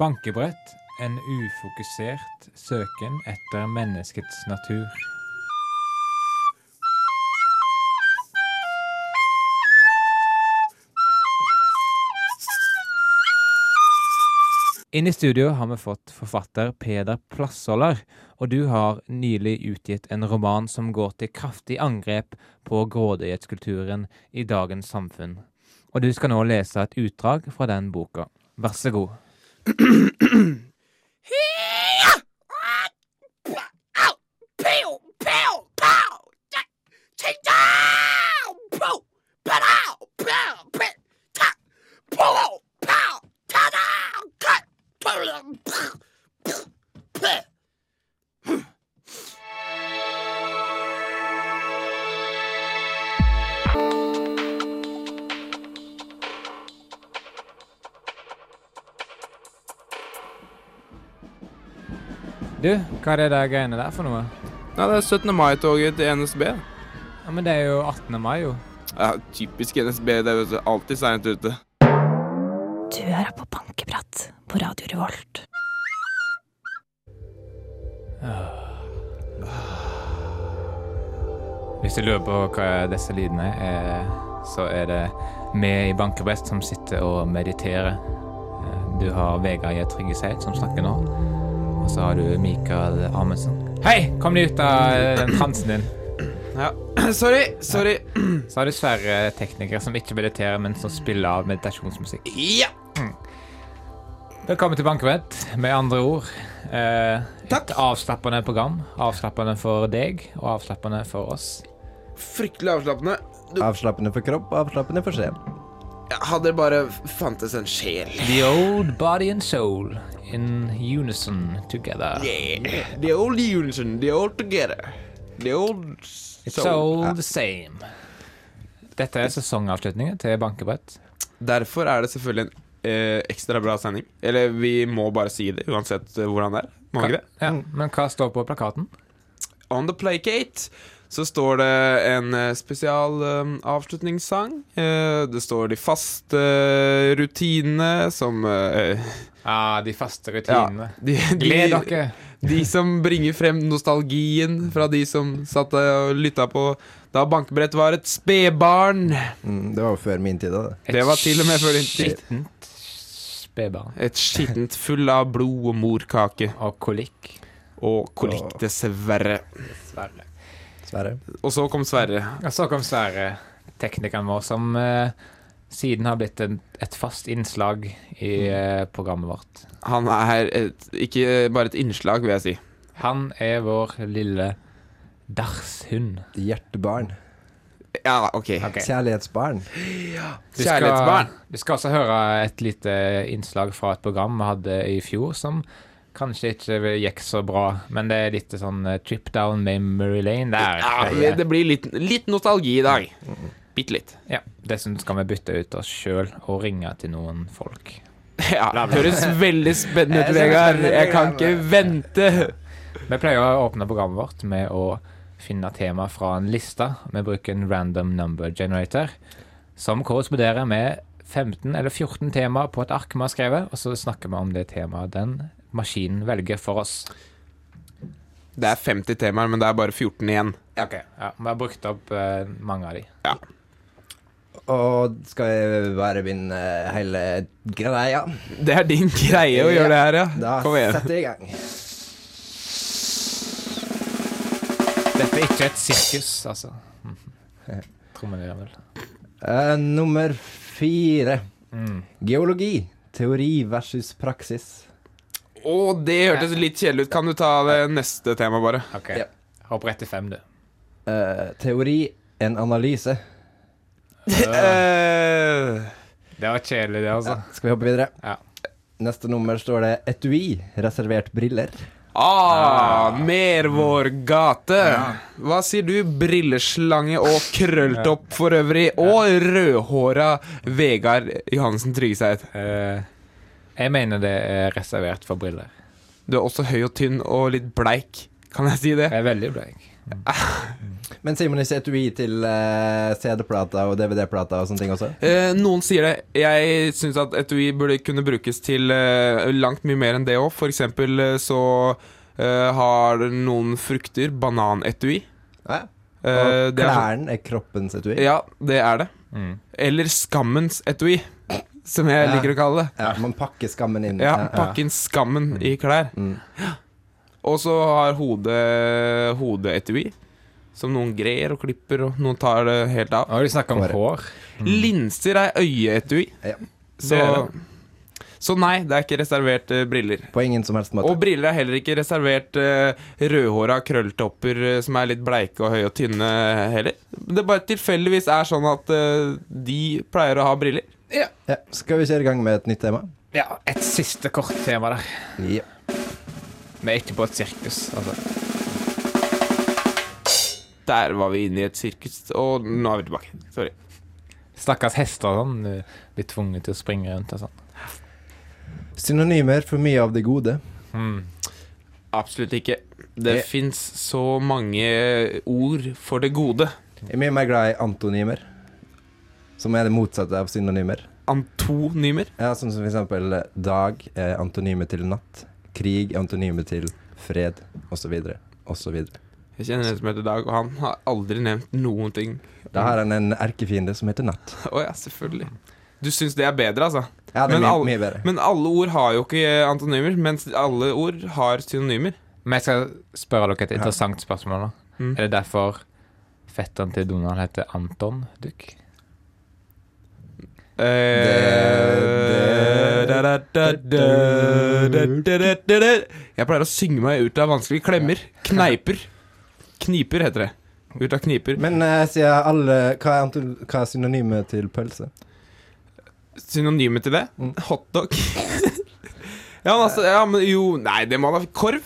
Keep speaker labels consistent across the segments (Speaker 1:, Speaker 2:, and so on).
Speaker 1: Bankebrett en ufokusert søken etter menneskets natur. Inne i studio har vi fått forfatter Peder Plassoller, og du har nylig utgitt en roman som går til kraftig angrep på grådighetskulturen i dagens samfunn. Og du skal nå lese et utdrag fra den boka. Vær så god. Du, hva er det der greiene der for noe?
Speaker 2: Nei, det er 17. mai-toget til NSB.
Speaker 1: Ja, Men det er jo 18. mai, jo.
Speaker 2: Ja, typisk NSB, det er jo alltid seint ute.
Speaker 3: Du hører på Bankeprat på Radio Revolt.
Speaker 1: Hvis du lurer på hva disse lydene er, så er det vi i Bankebrett som sitter og mediterer. Eh, Du har Vegard J. Trygge Seid som snakker nå. Og så har du Mikael Amundsen. Hei! Kom deg ut av eh, den transen din.
Speaker 2: Ja, sorry, sorry.
Speaker 1: Så har du Sverre, tekniker, som ikke mediterer, men som spiller av meditasjonsmusikk.
Speaker 2: Ja,
Speaker 1: Velkommen til Bankebrett, med andre ord. Eh, et
Speaker 2: Takk.
Speaker 1: avslappende program. Avslappende for deg, og avslappende for oss.
Speaker 2: fryktelig avslappende. Du,
Speaker 4: Avslappende for kropp, avslappende for sjel.
Speaker 2: hadde det bare fantes en sjel.
Speaker 1: The old body and soul in unison together.
Speaker 2: Yeah. The old unison, the old together. The old
Speaker 1: It's all the same. Dette er sesongavslutningen til Bankebrett.
Speaker 2: Derfor er det selvfølgelig en eh, ekstra bra sending. Eller vi må bare si det, uansett eh, hvordan det er. Må vi ikke det?
Speaker 1: Ja, men hva står på plakaten?
Speaker 2: On the Playgate så står det en eh, spesial eh, avslutningssang. Eh, det står de faste eh, rutinene som eh,
Speaker 1: Ah, de faste
Speaker 2: ja,
Speaker 1: rutinene.
Speaker 2: de,
Speaker 1: Gled
Speaker 2: de,
Speaker 1: dere!
Speaker 2: de som bringer frem nostalgien fra de som satt eh, og lytta på da bankebrett var et spedbarn.
Speaker 4: Mm, det var jo før min tid, da. det.
Speaker 2: Det var til og med før din tid.
Speaker 1: Skittent spedbarn.
Speaker 2: Et skittent full av blod og morkake.
Speaker 1: Og kolikk.
Speaker 2: Og kolikk, dessverre.
Speaker 1: Dessverre.
Speaker 4: Dessverre.
Speaker 2: Og så kom Sverre.
Speaker 1: Og så kom Sverre, teknikeren vår, som eh, siden har blitt en, et fast innslag i eh, programmet vårt.
Speaker 2: Han er et, ikke bare et innslag, vil jeg si.
Speaker 1: Han er vår lille dachshund.
Speaker 4: Hjertebarn.
Speaker 2: Ja, ok.
Speaker 1: Ok.
Speaker 4: Kjærlighetsbarn.
Speaker 1: Du skal-
Speaker 2: Kjærlighetsbarn.
Speaker 1: Du skal også høre et lite innslag fra et program vi hadde i fjor som kanskje ikke gikk så bra, men det er litt sånn eh, trip down memory lane der.
Speaker 2: Ja,
Speaker 1: Ja,
Speaker 2: det- det blir litt, litt nostalgi i dag. Bitte litt.
Speaker 1: Dessuten skal vi bytte ut oss sjøl og ringe til noen folk.
Speaker 2: Ja, høres veldig spennende ut,
Speaker 4: Jeg synes det er
Speaker 2: Vegard.
Speaker 4: spennende
Speaker 2: Jeg kan ikke vente.
Speaker 1: Vi pleier å åpne programmet vårt med å finne tema fra en liste. Vi bruker en random number generator som korresponderer med 15 eller 14 temaer på et ark vi har skrevet, og så snakker vi om det temaet den maskinen velger for oss.
Speaker 2: Det er 50 temaer, men det er bare 14 igjen.
Speaker 1: Ok, ja, Vi har brukt opp eh, mange av de.
Speaker 4: Og skal jeg være min eh, hele greia?
Speaker 2: Det er din greie å gjøre det her, ja.
Speaker 4: Da
Speaker 2: Kom igjen.
Speaker 4: setter jeg i gang.
Speaker 1: Dette er ikke et sirkus, altså. Trommevirvel.
Speaker 4: Eh, nummer fire.
Speaker 1: Mm.
Speaker 4: Geologi. Teori versus praksis.
Speaker 2: Å, det hørtes litt kjedelig ut. Kan du ta det neste temaet, bare?
Speaker 1: OK.
Speaker 4: Ja.
Speaker 1: Hopp rett til fem, du.
Speaker 4: Eh, teori en analyse.
Speaker 2: Eh,
Speaker 1: Det var kjedelig, det, altså.
Speaker 4: Skal vi hoppe videre?
Speaker 1: Ja.
Speaker 4: Neste nummer står det etui. Reservert briller.
Speaker 2: Ah, mer vår gate. Hva sier du, brilleslange og krølltopp for øvrig, og rødhåra Vegard Johansen Tryggeseid?
Speaker 1: Eh, jeg mener det er reservert for briller.
Speaker 2: Du er også høy og tynn og litt bleik. Kan jeg si det?
Speaker 1: Jeg er veldig bleik.
Speaker 4: Men sier man ikke etui til eh, CD-plater og DVD-plater og sånne ting også?
Speaker 2: Eh, noen sier det. Jeg syns at etui burde kunne brukes til eh, langt mye mer enn det òg. For eksempel eh, så eh, har noen frukter bananetui.
Speaker 4: Ja.
Speaker 2: Eh,
Speaker 4: Og
Speaker 2: det er sånn-
Speaker 4: klærne er kroppens etui?
Speaker 2: Ja, det er det.
Speaker 1: Mm.
Speaker 2: Eller skammens etui, som jeg
Speaker 4: Ja.
Speaker 2: liker å kalle det.
Speaker 4: Ja, man pakker skammen inn.
Speaker 2: Ja,
Speaker 4: Ja.
Speaker 2: Pakke inn skammen i klær.
Speaker 4: Mm.
Speaker 2: Og så har hodet hodeetui, som noen grer og klipper, og noen tar det helt av.
Speaker 1: Og de snakker om
Speaker 4: Håret.
Speaker 1: hår.
Speaker 2: Linser er øyeetui.
Speaker 4: Ja.
Speaker 2: Så,
Speaker 1: Det er
Speaker 2: så nei, det er ikke reservert eh, briller.
Speaker 4: På ingen som helst måte.
Speaker 2: Og briller er heller ikke reservert eh, rødhåra krølltopper eh, som er litt bleike og høye og tynne eh, heller. Det bare tilfeldigvis er sånn at eh, de pleier å ha briller.
Speaker 4: Ja. Skal vi kjøre i gang med et nytt tema?
Speaker 1: Ja, et siste kort tema der.
Speaker 4: Ja.
Speaker 1: Vi er ikke på et sirkus. Altså.
Speaker 2: Der var vi inne i et sirkus, og nå er vi tilbake. Sorry.
Speaker 1: Stakkars hester og sånn. eh, Blir tvunget til å springe rundt og sånn.
Speaker 4: Synonymer for mye av det gode.
Speaker 1: Mm.
Speaker 2: Absolutt ikke. Det
Speaker 4: Det-
Speaker 2: fins så mange ord for det gode.
Speaker 4: Jeg er mye mer glad i antonymer, som er det motsatte av synonymer.
Speaker 2: Antonymer.
Speaker 4: Ja, Som for eksempel eh, dag er antonyme til natt, krig er antonyme til fred, osv. osv.
Speaker 2: Jeg kjenner en som heter Dag, og han har aldri nevnt noen ting.
Speaker 4: Da har han en erkefiende som heter natt.
Speaker 2: Å ja, selvfølgelig. Du syns det er bedre, altså?
Speaker 4: Ja, det
Speaker 2: Men
Speaker 4: er mye,
Speaker 2: alle-
Speaker 4: mye bedre.
Speaker 2: Men alle ord har jo ikke antonymer, mens alle ord har synonymer.
Speaker 1: Men jeg skal spørre dere et interessant spørsmål. da.
Speaker 2: Mm.
Speaker 1: Er det derfor fetteren til Donald heter Anton Duck?
Speaker 2: Eh, da, da, da, da, da, da, da, da, da. Jeg pleier å synge meg ut av vanskelige klemmer. Kneiper. Kniper heter det. Ut av kniper.
Speaker 4: Men eh, siden alle Hva er, anto, hva er synonymet til pølse?
Speaker 2: Synonymet til det?
Speaker 4: Mm.
Speaker 2: Hotdog. ja, men altså ja, men Jo, nei, det må da Korv.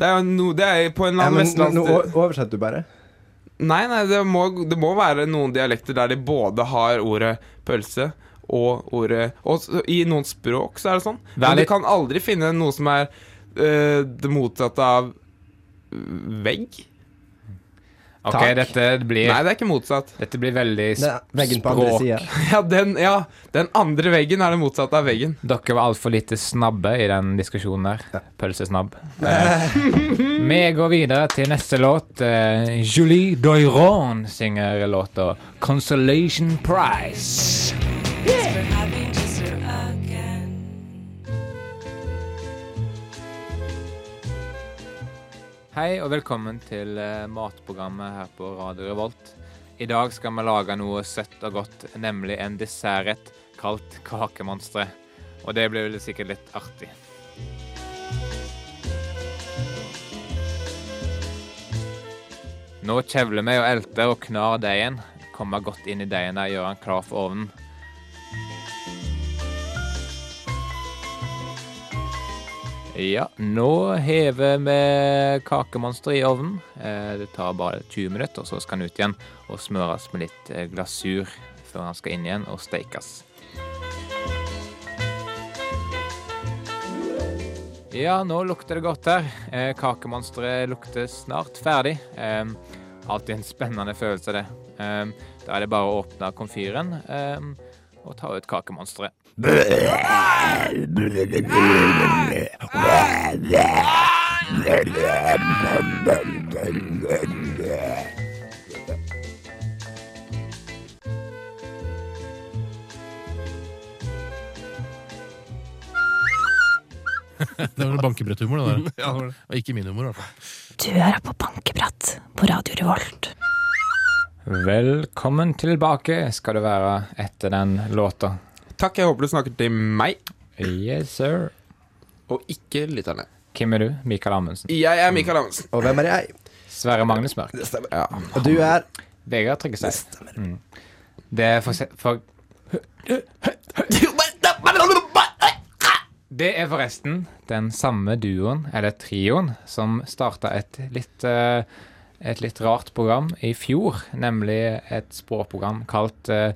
Speaker 2: Det er jo no, det er på en eller
Speaker 4: Ja,
Speaker 2: annen
Speaker 4: men nå nå
Speaker 2: vestlands...
Speaker 4: o- oversetter du bare.
Speaker 2: Nei, nei, det må, det må være noen dialekter der de både har ordet pølse og ordet Og s- i noen språk så er det sånn.
Speaker 1: er
Speaker 2: Men du
Speaker 1: litt-
Speaker 2: kan aldri finne noe som er eh, det motsatte av vegg.
Speaker 1: Ok,
Speaker 4: Takk.
Speaker 1: dette blir,
Speaker 2: Nei, det er ikke motsatt.
Speaker 1: dette blir veldig
Speaker 4: Det er veggen på andre sida.
Speaker 2: Ja, den, ja, den andre veggen er det motsatte av veggen.
Speaker 1: Dere var altfor lite snabbe i den diskusjonen der. Pølsesnabb. Eh, Vi går videre til neste låt. Eh, Julie Doiron synger låta 'Consolation Prize'. Hei og velkommen til eh, matprogrammet her på Radio Revolt. I dag skal vi lage noe søtt og godt, nemlig en dessertrett kalt kakemonstre. Og det blir vel sikkert litt artig. Nå kjevler vi og elter og knar deigen. Kommer godt inn i deigen der, gjør den klar for ovnen. Ja, nå hever vi kakemonsteret i ovnen. Eh, Det tar bare 20 minutter, og så skal den ut igjen og smøres med litt eh, glasur før den skal inn igjen og steikes. Ja, nå lukter det godt her. Eh, Kakemonsteret lukter snart ferdig. Eh, alltid en spennende følelse, det. Eh, da er det bare å åpne komfyren eh, og ta ut kakemonsteret.
Speaker 5: Det var bankebretthumor, det der. Og ikke min humor, i hvert fall.
Speaker 3: Du hører på Bankeprat på Radio Revolt.
Speaker 1: Velkommen tilbake skal du være etter den låta.
Speaker 2: Takk, jeg håper du snakker til meg,
Speaker 1: Yes, sir.
Speaker 2: og ikke lytterne.
Speaker 1: Hvem er du? Mikael Amundsen.
Speaker 2: Jeg er Mikael Amundsen.
Speaker 4: Og hvem er jeg?
Speaker 1: Sverre Magnus Mørk.
Speaker 4: Det stemmer.
Speaker 2: Ja.
Speaker 4: Og du er
Speaker 1: Vegard Tryggeseid. Mm. Det er for, se- for Det er forresten den samme duoen, eller trioen, som starta et litt eh, et litt rart program i fjor, nemlig et språkprogram kalt eh,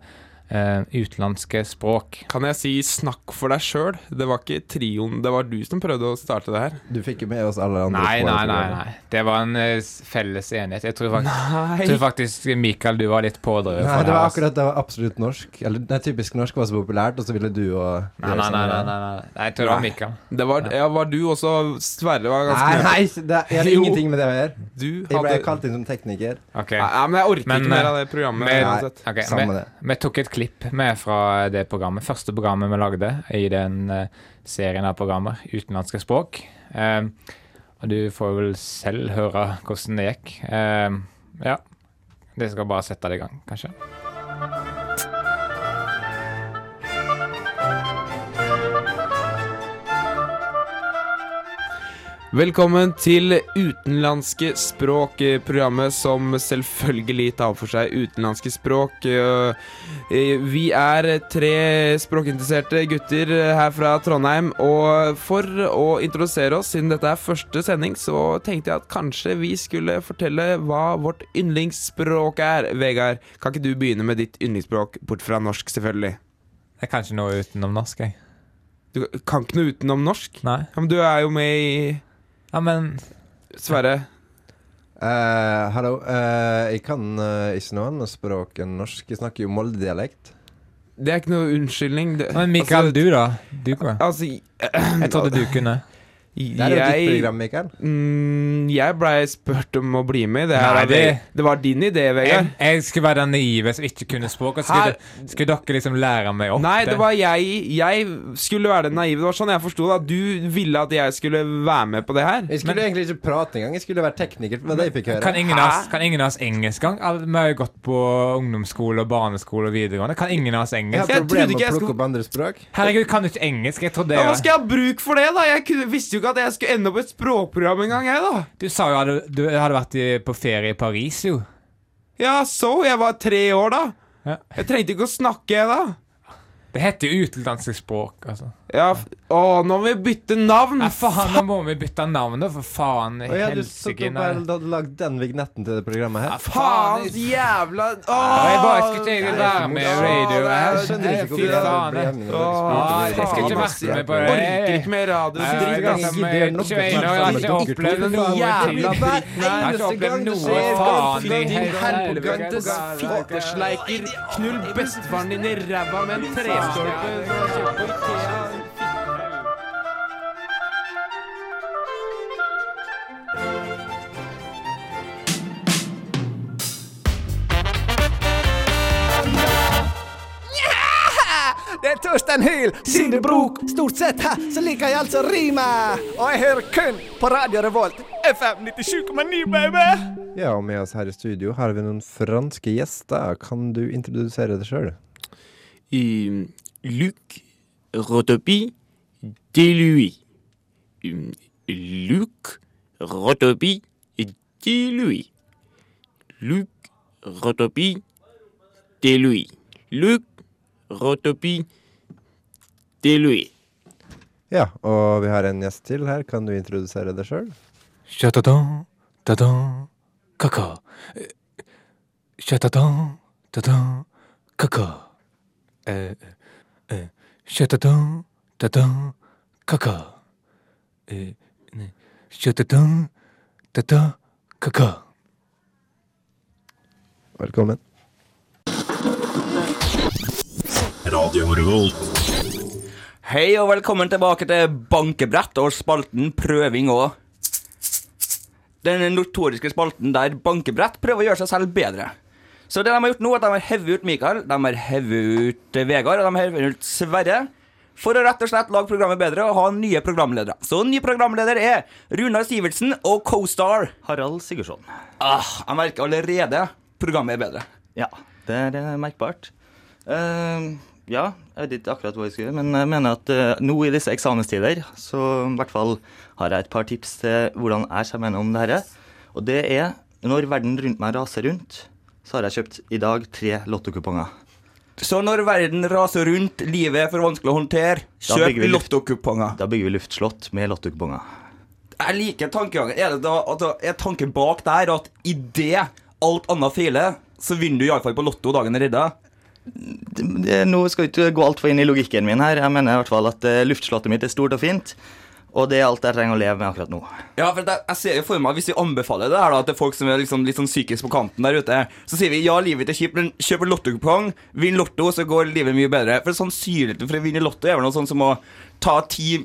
Speaker 1: eh, utenlandske språk.
Speaker 2: Kan jeg si 'snakk for deg sjøl'? Det var ikke trioen, det var du som prøvde å starte det her.
Speaker 4: Du fikk jo med oss alle andre.
Speaker 1: Nei,
Speaker 4: på
Speaker 1: nei,
Speaker 4: dette
Speaker 1: nei,
Speaker 4: programmet.
Speaker 1: nei. Det var en eh, felles enighet. Jeg tror faktisk,
Speaker 2: Nei!
Speaker 1: jeg tror faktisk Mikael, du var litt pådriver.
Speaker 4: Nei,
Speaker 1: for
Speaker 4: det var
Speaker 1: her, altså.
Speaker 4: akkurat det var absolutt norsk. Eller nei, typisk norsk var så populært, og så ville du og sånn
Speaker 1: Nei, nei, nei, nei, nei, nei. nei jeg tror det var Mikael.
Speaker 2: Det var, ja, var du også Sverre var
Speaker 4: Nei,
Speaker 2: ganske
Speaker 4: nei, det er
Speaker 2: Jo.
Speaker 4: ingenting med det å gjøre.
Speaker 2: Du
Speaker 4: Jeg ble
Speaker 2: hadde
Speaker 4: kalt inn som tekniker.
Speaker 1: Ok,
Speaker 2: Nei, men jeg orker
Speaker 1: Men,
Speaker 2: ikke mer
Speaker 1: eh,
Speaker 2: av det programmet
Speaker 1: men-
Speaker 2: uansett.
Speaker 1: Ok,
Speaker 4: Samme
Speaker 1: vi,
Speaker 4: det.
Speaker 1: vi tok et klipp med fra det programmet, første programmet vi lagde i den eh, serien av programmer, utenlandske språk. Eh, og du får vel selv høre hvordan det gikk. Eh, ja, det skal bare sette det i gang, kanskje.
Speaker 2: Velkommen til utenlandske språk, eh, programmet som selvfølgelig tar for seg utenlandske språk. Eh, eh, Vi er tre språkinteresserte gutter eh, her fra Trondheim, og for å introdusere oss, siden dette er første sending, så tenkte jeg at kanskje vi skulle fortelle hva vårt yndlingsspråk er. Vegard, kan ikke du begynne med ditt yndlingsspråk, bort fra norsk, selvfølgelig?
Speaker 1: Jeg kan ikke noe utenom norsk, jeg.
Speaker 2: Du kan ikke noe utenom norsk?
Speaker 1: Nei.
Speaker 2: Ja, men du er jo med i
Speaker 1: Ja, men
Speaker 2: Sverre.
Speaker 4: Eh, Hallo. eh, jeg kan eh, ikke noe annet språk enn norsk. Jeg snakker jo Molde-dialekt.
Speaker 2: Det er ikke noe unnskyldning. Det,
Speaker 1: Men Mikael, du da? Altså, Du kan.
Speaker 2: Altså,
Speaker 1: Jeg trodde du kunne.
Speaker 4: Det er jo ditt
Speaker 2: jeg
Speaker 4: program, Mikael.
Speaker 2: mm, Jeg blei spurt om å bli med i det her.
Speaker 1: Nei,
Speaker 2: av deg.
Speaker 1: det-
Speaker 2: det var din idé,
Speaker 1: Jeg,
Speaker 2: Vegard.
Speaker 1: jeg skulle være den naive som ikke kunne språk. Og
Speaker 2: Her-
Speaker 1: skulle, skulle dere liksom lære meg opp
Speaker 2: Nei, det var jeg Jeg skulle være den naive. Det var sånn jeg forsto det. At du ville at jeg skulle være med på det her.
Speaker 4: Jeg skulle egentlig ikke prate engang. Jeg skulle være tekniker. Men det jeg fikk høre
Speaker 1: Kan ingen, av oss, kan ingen av oss engelsk gang? Alle- Vi har jo gått på ungdomsskole og barneskole og videregående. Kan ingen av oss
Speaker 4: Jeg
Speaker 1: engelsk?
Speaker 4: har
Speaker 2: Jeg trodde
Speaker 4: problemer
Speaker 2: ikke
Speaker 4: med
Speaker 2: jeg
Speaker 4: å plukke
Speaker 2: skulle-
Speaker 4: opp andre språk.
Speaker 1: Herregud, kan du ikke engelsk? Jeg trodde det
Speaker 2: Ja, hva
Speaker 1: var
Speaker 2: skal jeg ha bruk for det, da? Jeg kunne, visste jo ikke at jeg skulle ende opp i et språkprogram engang, jeg, da.
Speaker 1: Du sa jo at du- du hadde vært i, på ferie i Paris, jo.
Speaker 2: Ja, så? Jeg var tre år da.
Speaker 1: Ja.
Speaker 2: Jeg trengte ikke å snakke, jeg, da.
Speaker 1: Det heter jo utenlandske språk, altså.
Speaker 2: Ja, f Å, nå må vi bytte navn!
Speaker 1: Nei, faen, nå må vi bytte navn, da, for faen.
Speaker 4: Og jeg hadde satt
Speaker 1: Helsike.
Speaker 4: opp
Speaker 1: nei.
Speaker 4: her, da hadde lagd den vignetten til det
Speaker 1: Ah,
Speaker 4: programmet her.
Speaker 2: Faen, jævla Åh!
Speaker 1: Jeg bare skulle til å være med i radio her.
Speaker 4: Jeg skjønner ikke
Speaker 1: Fy
Speaker 4: hvorfor det
Speaker 1: faen,
Speaker 4: ble
Speaker 1: jeg-
Speaker 2: Åh,
Speaker 4: med.
Speaker 1: jeg skal ikke være med på det.
Speaker 2: Orker ikke mer radio.
Speaker 1: Nei,
Speaker 4: Dritt,
Speaker 1: jeg vet
Speaker 4: ass.
Speaker 1: ikke, altså, men jeg er ikke enig, og jeg har ikke opplevd
Speaker 2: Den
Speaker 1: noe
Speaker 2: jævla
Speaker 1: til.
Speaker 2: dritten
Speaker 1: Jeg har ikke opplevd noe faen i helvete.
Speaker 2: Helvetes fittesleiker. Knull bestefaren din i ræva med en trestolpe.
Speaker 6: Det er Torstein Hyl, Sinde Brok. Stort sett her så liker jeg altså rime. Og jeg hører kun på Radio Revolt. FM 97,9, baby!
Speaker 4: Ja, og med oss her i studio har vi noen franske gjester. Kan du introdusere deg sjøl?
Speaker 7: Um, Luc Rotopi Delui. Um, Luc Rotopi Delui. Luc Rotopi Delui. Luc Rotopi Delui.
Speaker 4: Ja, og vi har en gjest til her. Kan du introdusere deg sjøl?
Speaker 8: Shatadan, tadan, kaka. Eh, Shatadan, tadan, kaka. Eh, eh, Shatadan, tadan, kaka. Eh, ne, Shatadan, tadan, kaka.
Speaker 4: Velkommen.
Speaker 9: Hei og velkommen tilbake til Bankebrett og spalten Prøving òg. Den notoriske spalten der bankebrett prøver å gjøre seg selv bedre. Så det de har gjort nå, er at de har hevet ut Mikael, de har hevet ut Vegard og de har hevet ut Sverre. For å rett og slett lage programmet bedre og ha nye programledere. Så ny programleder er Runar Sivertsen og co-star.
Speaker 10: Harald Sigurdsson.
Speaker 9: Ah, jeg merker allerede programmet er bedre.
Speaker 10: Ja, det er eh, merkbart. Eh, ja, jeg vet ikke akkurat hva jeg skulle gjøre, men jeg mener at eh, nå i disse eksamenstider, så i hvert fall har jeg et par tips til hvordan jeg kommer gjennom det her. Og det er når verden rundt meg raser rundt, så har jeg kjøpt i dag tre lottokuponger.
Speaker 9: Så når verden raser rundt, livet er for vanskelig å håndtere,
Speaker 10: Da
Speaker 9: kjøp
Speaker 10: bygger vi luft.
Speaker 9: lottokuponger.
Speaker 10: Da bygger vi luftslott med lottokuponger.
Speaker 9: Jeg liker tankegangen. Er, det da, at da, er tanken bak der at i det alt annet feiler, så vinner du iallfall på Lotto dagen er redda?
Speaker 10: det- det, nå skal jeg ikke gå altfor inn i logikken min her. Jeg mener i hvert fall at eh, luftslottet mitt er stort og fint, og det er alt jeg trenger å leve med akkurat nå.
Speaker 9: Ja, for jeg, jeg ser jo for meg, hvis vi anbefaler det her da, til folk som er liksom, litt sånn psykisk på kanten der ute, så sier vi ja, livet er kjipt, men kjøp en lottokupong, vinn lotto, så går livet mye bedre. For sannsynligheten for å vinne lotto er vel noe sånn som å ta ti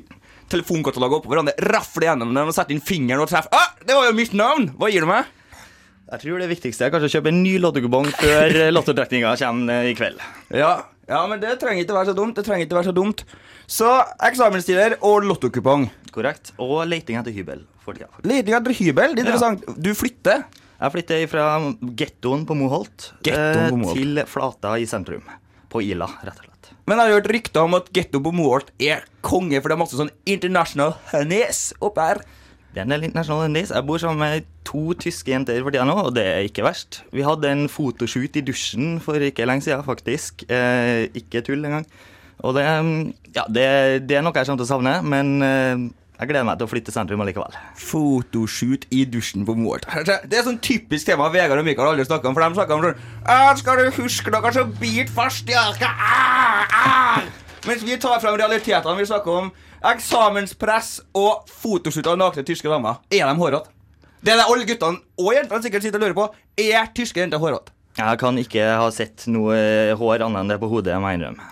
Speaker 9: telefonkataloger oppå hverandre, rafle gjennom dem og sette inn fingeren og treffe ah, det var jo mitt navn! Hva gir du meg?
Speaker 10: Jeg tror det viktigste er kanskje å kjøpe en ny lottokupong før eh, lottotrekninga kommer eh, i kveld.
Speaker 9: Ja, ja, men det trenger ikke være så dumt. Det trenger ikke være så dumt. Så eksamenstider og lottokupong.
Speaker 10: Korrekt. Og leiting etter hybel. for tida.
Speaker 9: Leting etter hybel, det er interessant. Du flytter?
Speaker 10: Jeg flytter fra gettoen på Moholt,
Speaker 9: Gettoen på
Speaker 10: eh,
Speaker 9: Moholt.
Speaker 10: til Flata i sentrum. På Ila, rett og slett.
Speaker 9: Men jeg har hørt rykter om at getto på Moholt er konge, for det er masse sånn international honeys oppe her.
Speaker 10: Det er en del internasjonale hendelser. Jeg bor sammen med to tyske jenter for tida nå, og det er ikke verst. Vi hadde en fotoshoot i dusjen for ikke lenge siden, faktisk. Eh, ikke tull engang. Og det, mm, ja, det, det er noe jeg kommer til å savne, men eh, jeg gleder meg til å flytte til sentrum allikevel.
Speaker 9: Fotoshoot i dusjen på Moholt. Det er sånn typisk tema Vegard og Mikael aldri snakker om, for de snakker om sånn «Ah, Skal du huske noe som biter fast i arka? Ah, ah!» Mens vi tar frem realitetene. Vi snakker om eksamenspress og fotoshoot av nakne tyske damer. Er de hårete? Det er det alle guttene og jentene sikkert sitter og lurer på. Er tyske jenter hårete?
Speaker 10: Jeg kan ikke ha sett noe hår annet enn det på hodet, må jeg innrømme.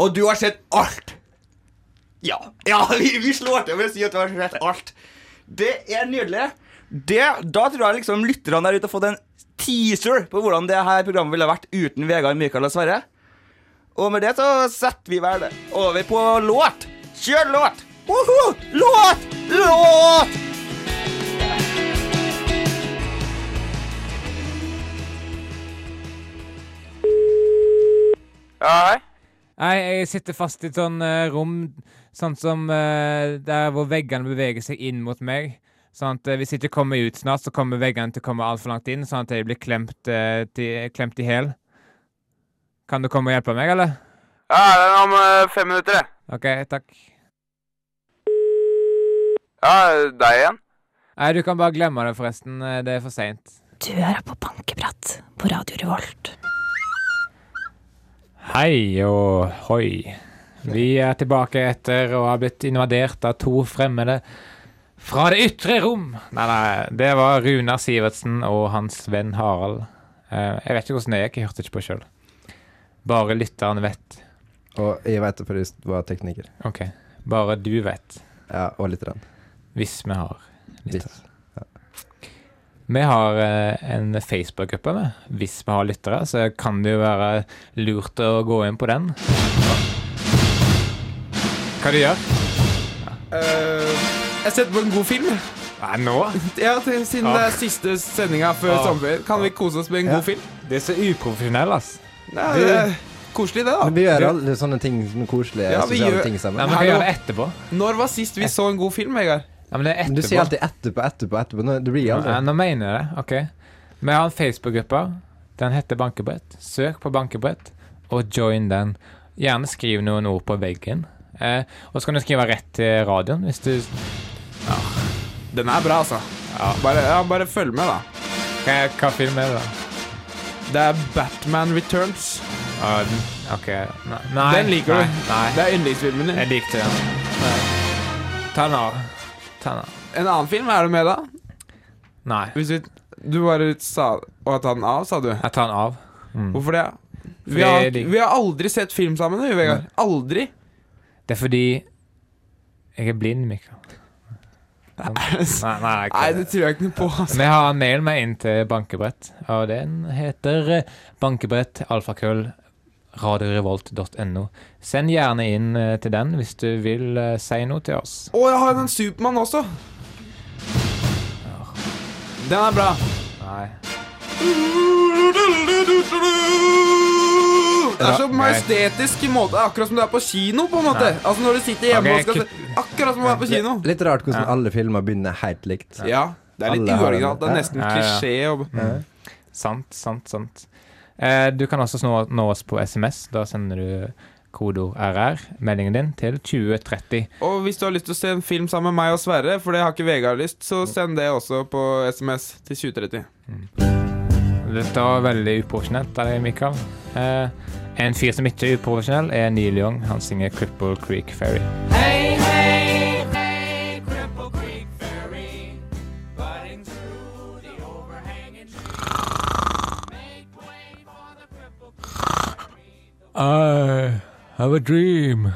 Speaker 9: Og du har sett alt! Ja. Ja, vi, vi slår til med å si at du har sett alt. Det er nydelig. Det, da tror jeg liksom lytterne der ute har fått en teaser på hvordan det her programmet ville vært uten Vegard, Mikael og Sverre. Og med det så setter vi vel over på låt. Kjør låt! Woho! Låt! Låt!
Speaker 11: Hei.
Speaker 1: Nei, jeg sitter fast i et sånn eh, rom, sånn som eh, der hvor veggene beveger seg inn mot meg. Sånn at eh, hvis jeg ikke kommer ut snart, så kommer veggene til å komme altfor langt inn, sånn at jeg blir klemt, eh, til, klemt i hæl. Kan du komme og hjelpe meg, eller?
Speaker 11: Ja, det er om eh, fem minutter, jeg.
Speaker 1: OK, takk.
Speaker 11: Ja, deg igjen.
Speaker 1: Nei, du kan bare glemme det, forresten. Eh, Det er for seint.
Speaker 3: Du hører på Bankeprat på Radio Revolt.
Speaker 1: Hei og hoi. Vi er tilbake etter å ha blitt invadert av to fremmede fra det ytre rom. Nei, nei, det var Runar Sivertsen og hans venn Harald. Eh, Jeg vet ikke hvordan det gikk, jeg hørte ikke på sjøl. Bare lytteren vet.
Speaker 4: Og jeg veit det fordi jeg var tekniker.
Speaker 1: OK. Bare du vet.
Speaker 4: Ja, og litt. Rann.
Speaker 1: Hvis vi har.
Speaker 4: Litt.
Speaker 1: Vi har eh, en Facebook-gruppe. med. Hvis vi har lyttere, så kan det jo være lurt å gå inn på den. Hva du gjør
Speaker 2: Eh, jeg setter på en god film.
Speaker 1: Nei, nå?
Speaker 2: Ja, til, Siden det er siste sendinga før
Speaker 1: Ah.
Speaker 2: sommerferien, kan vi kose oss med en
Speaker 1: Ja.
Speaker 2: god film?
Speaker 1: Det er så uprofesjonell, ass.
Speaker 2: Nei,
Speaker 4: Du-
Speaker 2: det er koselig, det, da.
Speaker 4: Men vi gjør alle sånne ting, sånne koselige
Speaker 2: Ja, vi
Speaker 4: sosiale
Speaker 2: gjør-
Speaker 4: ting sammen.
Speaker 2: Nei, men vi gjør
Speaker 1: det etterpå.
Speaker 2: Når var sist vi så en god film, Vegard?
Speaker 1: Ja, men det er
Speaker 4: Du sier
Speaker 1: etterpå.
Speaker 4: alltid etterpå, etterpå, etterpå. Nå, det blir aldri
Speaker 1: Nei, nå mener jeg det. OK. Vi har en Facebook-gruppe. Den heter Bankebrett. Søk på Bankebrett og join den. Gjerne skriv noen ord på veggen. Eh, og så kan du skrive rett til radioen hvis du ja.
Speaker 2: Den er bra, altså. Bare, ja, bare følg med, da.
Speaker 1: Hva, film er det, da?
Speaker 2: Det er Batman Returns.
Speaker 1: Ja, den, OK. Nei. nei,
Speaker 2: den liker
Speaker 1: nei,
Speaker 2: du.
Speaker 1: Nei.
Speaker 2: Det er yndlingsfilmen din.
Speaker 1: Jeg likte den. Ta den av. Ta den av.
Speaker 2: En annen film er du med, da?
Speaker 1: Nei.
Speaker 2: Hvis vi, du bare sa å ta den av, sa du?
Speaker 1: Jeg tar den av.
Speaker 2: Hvorfor det?
Speaker 1: Fordi
Speaker 2: Vi har,
Speaker 1: jeg liker-
Speaker 2: vi har aldri sett film sammen, vi, Vegard. Aldri.
Speaker 1: Det er fordi jeg er blind, Mikael. Nei, nei, nei, ikke.
Speaker 2: Nei, det tror jeg ikke noe på. Altså.
Speaker 1: Vi har en mail med inn til Bankebrett, og den heter eh, bankebrett alfakrøll radiorevolt.no. Send gjerne inn eh, til den hvis du vil eh, si noe til oss.
Speaker 2: Å, jeg har en Supermann også. Den er bra.
Speaker 1: Nei.
Speaker 2: Det er så
Speaker 1: Ja, nei.
Speaker 2: majestetisk i måte. Akkurat som du er på kino, på en måte.
Speaker 4: Nei.
Speaker 2: Altså når du sitter hjemme
Speaker 4: Ok,
Speaker 2: og skal se Akkurat som å være på kino.
Speaker 4: Litt- Litt rart hvordan alle filmer begynner helt likt.
Speaker 2: Ja, det er litt
Speaker 4: Alle har den.
Speaker 2: uoriginalt. Det er nesten
Speaker 1: Ja, ja.
Speaker 2: klisjé. Og...
Speaker 1: Mm. Sant, sant, sant. Eh, du kan også nå, nå oss på SMS. Da sender du kodeord RR, meldingen din, til 2030.
Speaker 2: Og hvis du har lyst til å se en film sammen med meg og Sverre, for det har ikke Vegard lyst, så send det også på SMS til 2030.
Speaker 1: Dette var veldig uprofesjonelt av deg, Mikael. Eh, en fyr som ikke er uprofesjonell, er Neil Young. Han synger 'Cripple Creek Ferry'.
Speaker 12: Hey, hey, hey, Cripple Creek Ferry, butting through the overhanging
Speaker 8: I have a dream.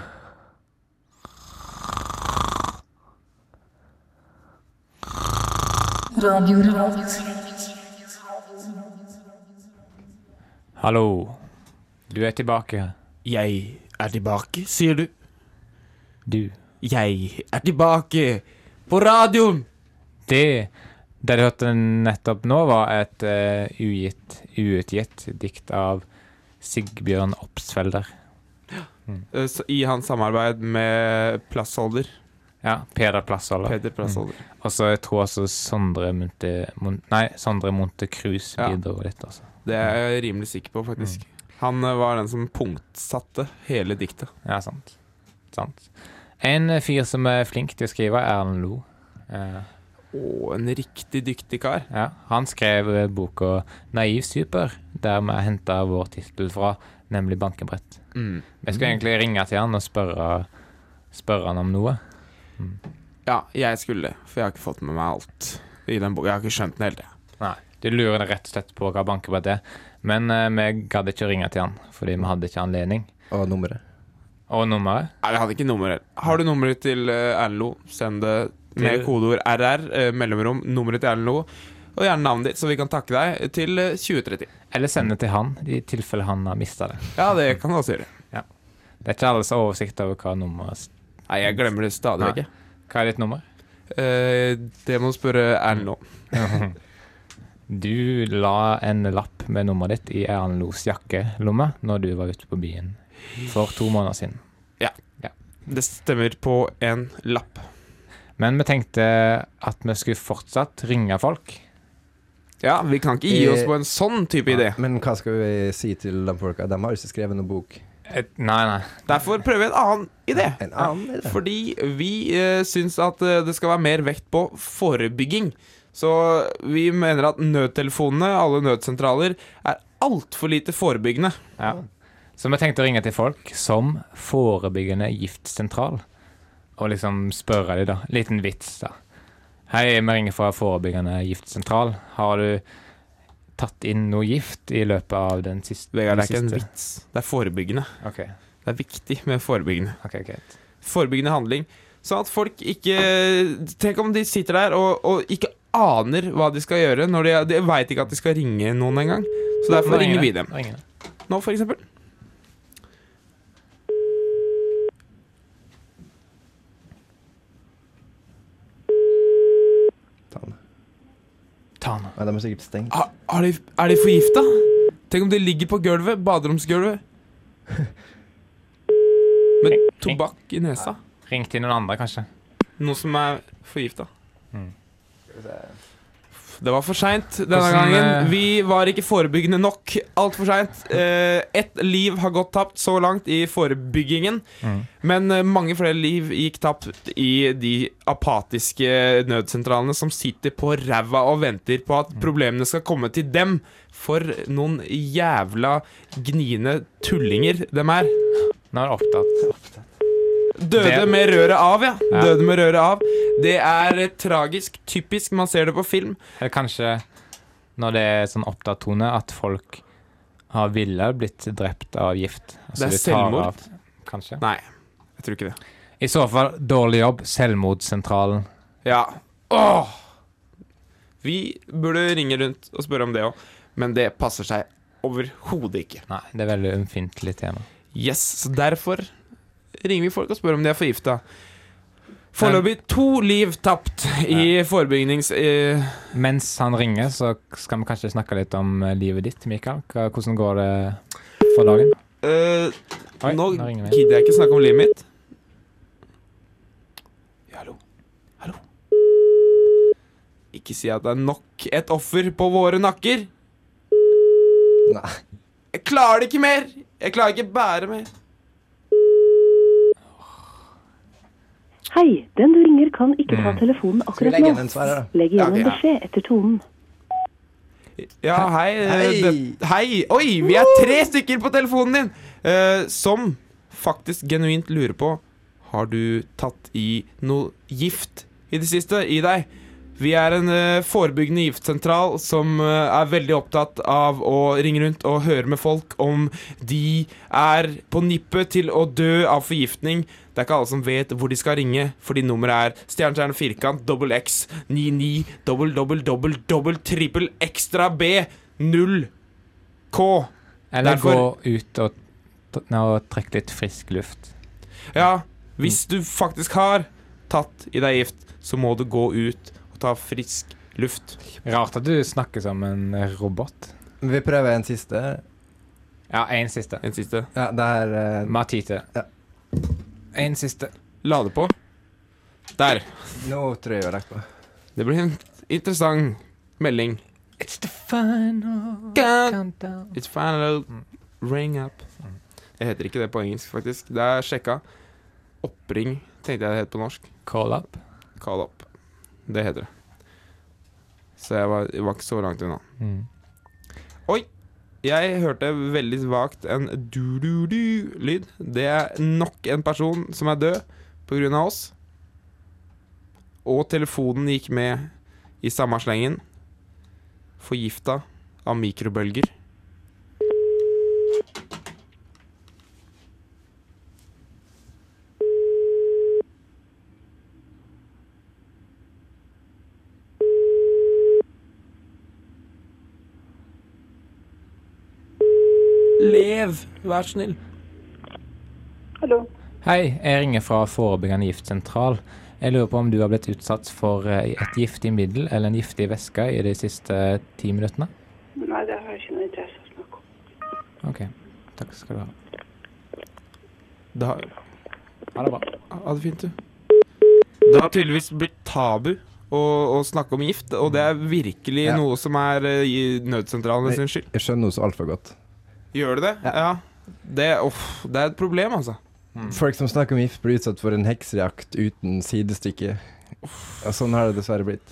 Speaker 3: Radio
Speaker 1: Hallo. Du er tilbake.
Speaker 13: Jeg er tilbake, sier du.
Speaker 1: Du.
Speaker 13: Jeg er tilbake på radioen.
Speaker 1: Det det du hørte nettopp nå, var et eh, ugitt, uutgitt dikt av Sigbjørn Opsfelder.
Speaker 2: Eh, så I hans samarbeid med Plassholder.
Speaker 1: Ja, Peder Plassholder.
Speaker 2: Peder Plassholder.
Speaker 1: Mm. Og så jeg tror også Sondre Munte... Mun- nei, Sondre Munte Krus bidro litt, altså.
Speaker 2: Det er jeg rimelig sikker på, faktisk.
Speaker 13: Mm.
Speaker 2: Han eh, var den som punktsatte hele diktet.
Speaker 1: Ja, sant. Sant. En eh, fyr som er flink til å skrive, er Erlend Lo. Eh,
Speaker 2: Å, en riktig dyktig kar.
Speaker 1: ja. Han skrev eh, boka 'Naiv super', der vi henta vår tittel fra, nemlig 'Bankebrett'.
Speaker 2: Mm.
Speaker 1: Jeg skulle egentlig ringe til han og spørre, spørre han om noe.
Speaker 2: Ja, jeg skulle det, for jeg har ikke fått med meg alt i den boka. Jeg har ikke skjønt den helt, jeg.
Speaker 1: Nei, du lurer rett og slett på hva bankebrett er. Men eh, vi gadd ikke å ringe til han, fordi vi hadde ikke anledning.
Speaker 4: Og nummeret.
Speaker 1: Og nummeret.
Speaker 2: Nei, jeg hadde ikke nummeret. Har du nummeret til eh, Erlend Lo, send det med
Speaker 1: Til-
Speaker 2: kodeord RR, eh, mellomrom, nummeret til Erlend Lo, og gjerne navnet ditt, så vi kan takke deg til eh, 2030.
Speaker 1: Eller send det til han, i tilfelle han har mista det.
Speaker 2: Ja, det kan du også gjøre.
Speaker 1: Ja. Det er ikke alle som har oversikt over hva nummeret
Speaker 2: Nei, jeg glemmer det stadig
Speaker 1: Nei.
Speaker 2: vekk. jeg.
Speaker 1: Hva er ditt nummer?
Speaker 2: Eh, det må du spørre Erlend Lo.
Speaker 1: Du la en lapp med nummeret ditt i Erlend Los jakkelomme når du var ute på byen for to måneder siden.
Speaker 2: Ja. Det stemmer på en lapp.
Speaker 1: Men vi tenkte at vi skulle fortsatt ringe folk.
Speaker 2: Ja, vi kan ikke gi oss på en sånn type idé.
Speaker 4: Men hva skal vi si til de folka? De har jo ikke skrevet noen bok.
Speaker 1: nei, nei.
Speaker 2: Derfor prøver vi en annen idé.
Speaker 4: En annen idé.
Speaker 2: Fordi vi uh, syns at eh, det skal være mer vekt på forebygging. Så vi mener at nødtelefonene, alle nødsentraler, er altfor lite forebyggende.
Speaker 1: Ja. Så vi tenkte å ringe til folk som forebyggende giftsentral, og liksom spørre dem, da. Liten vits, da. Hei, vi ringer fra forebyggende giftsentral. Har du tatt inn noe gift i løpet av den siste
Speaker 2: Vegard, det er ikke
Speaker 1: den
Speaker 2: en
Speaker 1: siste-
Speaker 2: vits. Det er forebyggende.
Speaker 1: Ok.
Speaker 2: Det er viktig med forebyggende.
Speaker 1: Ok, greit.
Speaker 2: Forebyggende handling. Sånn at folk ikke Tenk om de sitter der og, og ikke aner hva de skal gjøre. Når de, de veit ikke at de skal ringe noen engang. Så derfor
Speaker 1: Nå
Speaker 2: ringer vi
Speaker 1: det.
Speaker 2: dem.
Speaker 1: Nå ringer det.
Speaker 2: Nå, for eksempel.
Speaker 1: Ta den.
Speaker 4: Nei, de er sikkert stengt.
Speaker 2: Har, har de, er de forgifta? Tenk om de ligger på gulvet, baderomsgulvet. Med tobakk i nesa.
Speaker 1: Ring til noen andre, kanskje.
Speaker 2: Noe som er forgifta.
Speaker 1: Mm.
Speaker 2: Det var for seint denne
Speaker 1: Hvordan, eh,
Speaker 2: gangen. Vi var ikke forebyggende nok. Altfor seint. Eh, ett liv har gått tapt så langt i forebyggingen.
Speaker 12: Mm.
Speaker 2: Men eh, mange flere liv gikk tapt i de apatiske nødsentralene som sitter på ræva og venter på
Speaker 1: Mm.
Speaker 2: at problemene skal komme til dem. For noen jævla gniende tullinger dem er.
Speaker 1: Nå er det opptatt.
Speaker 2: Døde
Speaker 1: Det-
Speaker 2: med røret av, ja.
Speaker 1: Ja.
Speaker 2: Døde med røret av. Det er eh, tragisk. Typisk. Man ser det på film.
Speaker 1: Eller kanskje når det er sånn opptatt tone, at folk har ville blitt drept av gift.
Speaker 2: Det er
Speaker 1: de tar
Speaker 2: selvmord.
Speaker 1: kanskje?
Speaker 2: Nei, jeg tror ikke det.
Speaker 1: I så fall dårlig jobb, selvmordssentralen.
Speaker 2: Ja. Åh! Vi burde ringe rundt og spørre om det òg, men det passer seg overhodet ikke.
Speaker 1: Nei, det er veldig ømfintlig tema.
Speaker 2: Yes, så derfor ringer vi folk og spør om de er forgifta. Foreløpig to liv tapt i forebyggings... eh,
Speaker 1: Mens han ringer, så skal vi kanskje snakke litt om eh, livet ditt, Mikael. Hva- Hvordan går det for dagen?
Speaker 2: eh, nå
Speaker 1: nå ringer vi.
Speaker 2: gidder jeg ikke snakke om livet mitt. Ja, Hallo. Hallo. Ikke si at det er nok et offer på våre nakker.
Speaker 4: Nei.
Speaker 2: Jeg klarer det ikke mer! Jeg klarer ikke bære mer.
Speaker 14: Hei, den du ringer kan ikke ta
Speaker 1: Mm.
Speaker 14: telefonen
Speaker 4: Skal vi
Speaker 14: akkurat
Speaker 4: legge
Speaker 14: nå.
Speaker 4: igjen en svarer, da?
Speaker 14: Legg igjen
Speaker 4: Ja, ok,
Speaker 14: en
Speaker 4: ja.
Speaker 14: beskjed etter tonen.
Speaker 2: Ja, hei. eh,
Speaker 12: Hei.
Speaker 2: Det, hei. Oi, vi er tre stykker på telefonen din! eh, som faktisk genuint lurer på Har du tatt i noe gift i det siste i deg. Vi er en eh, forebyggende giftsentral som eh, er veldig opptatt av å ringe rundt og høre med folk om de er på nippet til å dø av forgiftning. Det er ikke alle som vet hvor de skal ringe, fordi nummeret er stjernestjerne firkant dobbel x 99 dobbel dobbel dobbel dobbel trippel ekstra b 0 k.
Speaker 1: Eller
Speaker 2: Derfor-
Speaker 1: gå ut og, t- nå, og trekke litt frisk luft.
Speaker 2: Ja, hvis du faktisk har tatt i deg gift, så må du gå ut og ta frisk luft.
Speaker 1: Rart at du snakker som en robot.
Speaker 4: Vi prøver en siste.
Speaker 1: Ja, én siste.
Speaker 2: En siste.
Speaker 4: Ja, det er eh,
Speaker 1: Matite.
Speaker 4: Ja.
Speaker 1: En siste.
Speaker 2: La det på. Der.
Speaker 4: Nå tror jeg vi har lagt på.
Speaker 2: Det blir en interessant melding.
Speaker 1: It's the final countdown.
Speaker 2: It's final ring up. Det heter ikke det på engelsk, faktisk. Det er sjekka. Oppring tenkte jeg det het på norsk.
Speaker 1: Call up.
Speaker 2: Call up. Det heter det. Så jeg var, jeg var ikke så langt unna.
Speaker 1: Mm.
Speaker 2: Oi! Jeg hørte veldig vagt en du-du-du-lyd. Det er nok en person som er død pga. oss. Og telefonen gikk med i samme slengen. Forgifta av mikrobølger.
Speaker 13: Lev, vær så snill.
Speaker 1: Hei, jeg ringer fra Forebyggende giftsentral. Jeg lurer på om du har blitt utsatt for eh, et giftig middel eller en giftig væske i de siste eh, ti minuttene?
Speaker 14: Nei, det har jeg ikke noe interesse av å snakke om.
Speaker 1: OK. Takk skal du ha.
Speaker 2: Det har
Speaker 1: Ha det bra.
Speaker 2: Ha det fint, du. Det har tydeligvis blitt tabu å, å snakke om gift, og det er virkelig
Speaker 4: Ja.
Speaker 2: noe som er eh, i nødsentralene sin skyld.
Speaker 4: Jeg skjønner noe så altfor godt.
Speaker 2: Gjør det det? Ja. Det, uff, det er et problem, altså.
Speaker 4: Folk som snakker om gift, blir utsatt for en heksejakt uten sidestykke. Og sånn har det dessverre blitt.